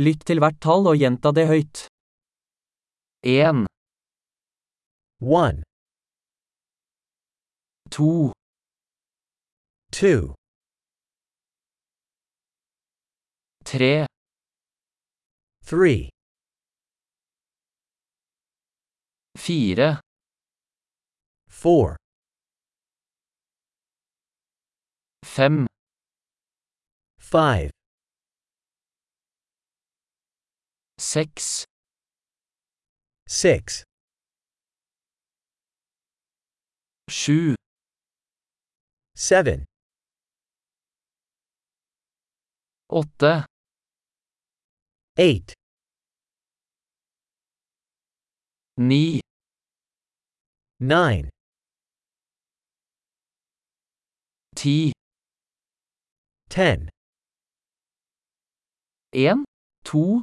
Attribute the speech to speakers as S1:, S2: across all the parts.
S1: Lytt til hvert tall og gjenta det høyt. 1,
S2: 1,
S1: 2,
S2: 2,
S1: 3,
S2: 3,
S1: 4,
S2: 4,
S1: 5,
S2: 5,
S1: 6,
S2: 6,
S1: 7,
S2: 7,
S1: 8,
S2: 8,
S1: 9,
S2: 9,
S1: 10,
S2: 10,
S1: 1, 2,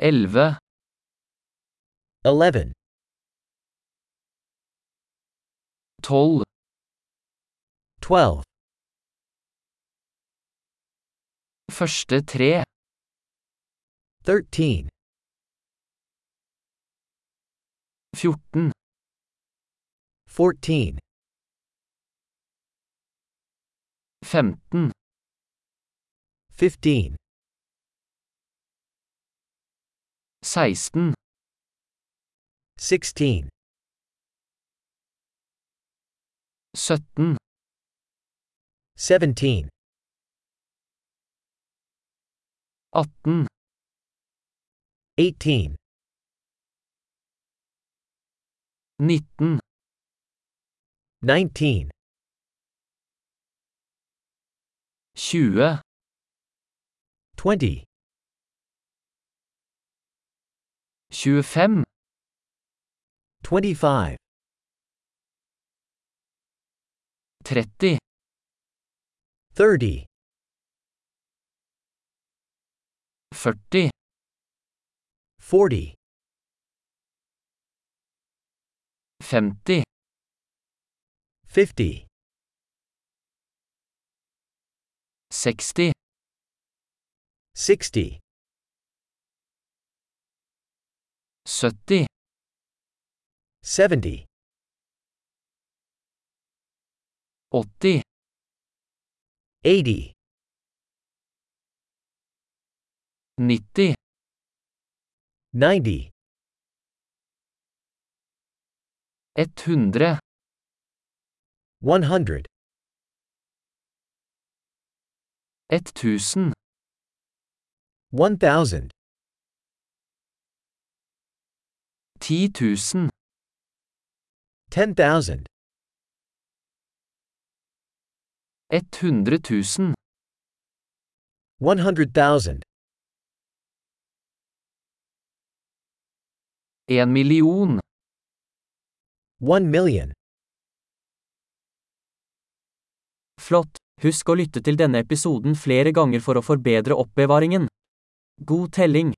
S1: 11,
S2: 11,
S1: 12,
S2: 12,
S1: første tre,
S2: 13,
S1: 14,
S2: 14,
S1: 15,
S2: 15,
S1: 16,
S2: 16,
S1: 17,
S2: 17,
S1: 18,
S2: 18,
S1: 19,
S2: 19,
S1: 20,
S2: 20,
S1: 25,
S2: 25,
S1: 30,
S2: 30,
S1: 40,
S2: 40,
S1: 50,
S2: 50,
S1: 60,
S2: 60,
S1: 70,
S2: 70,
S1: 80,
S2: 80,
S1: 90,
S2: 90,
S1: 100,
S2: 100,
S1: 1000,
S2: 1000,
S1: 10 000,
S2: 10,000,
S1: 100 000,
S2: 100,000,
S1: 1 million,
S2: 1 million.
S1: Flott! Husk å lytte til denne episoden flere ganger for å forbedre oppbevaringen. God telling!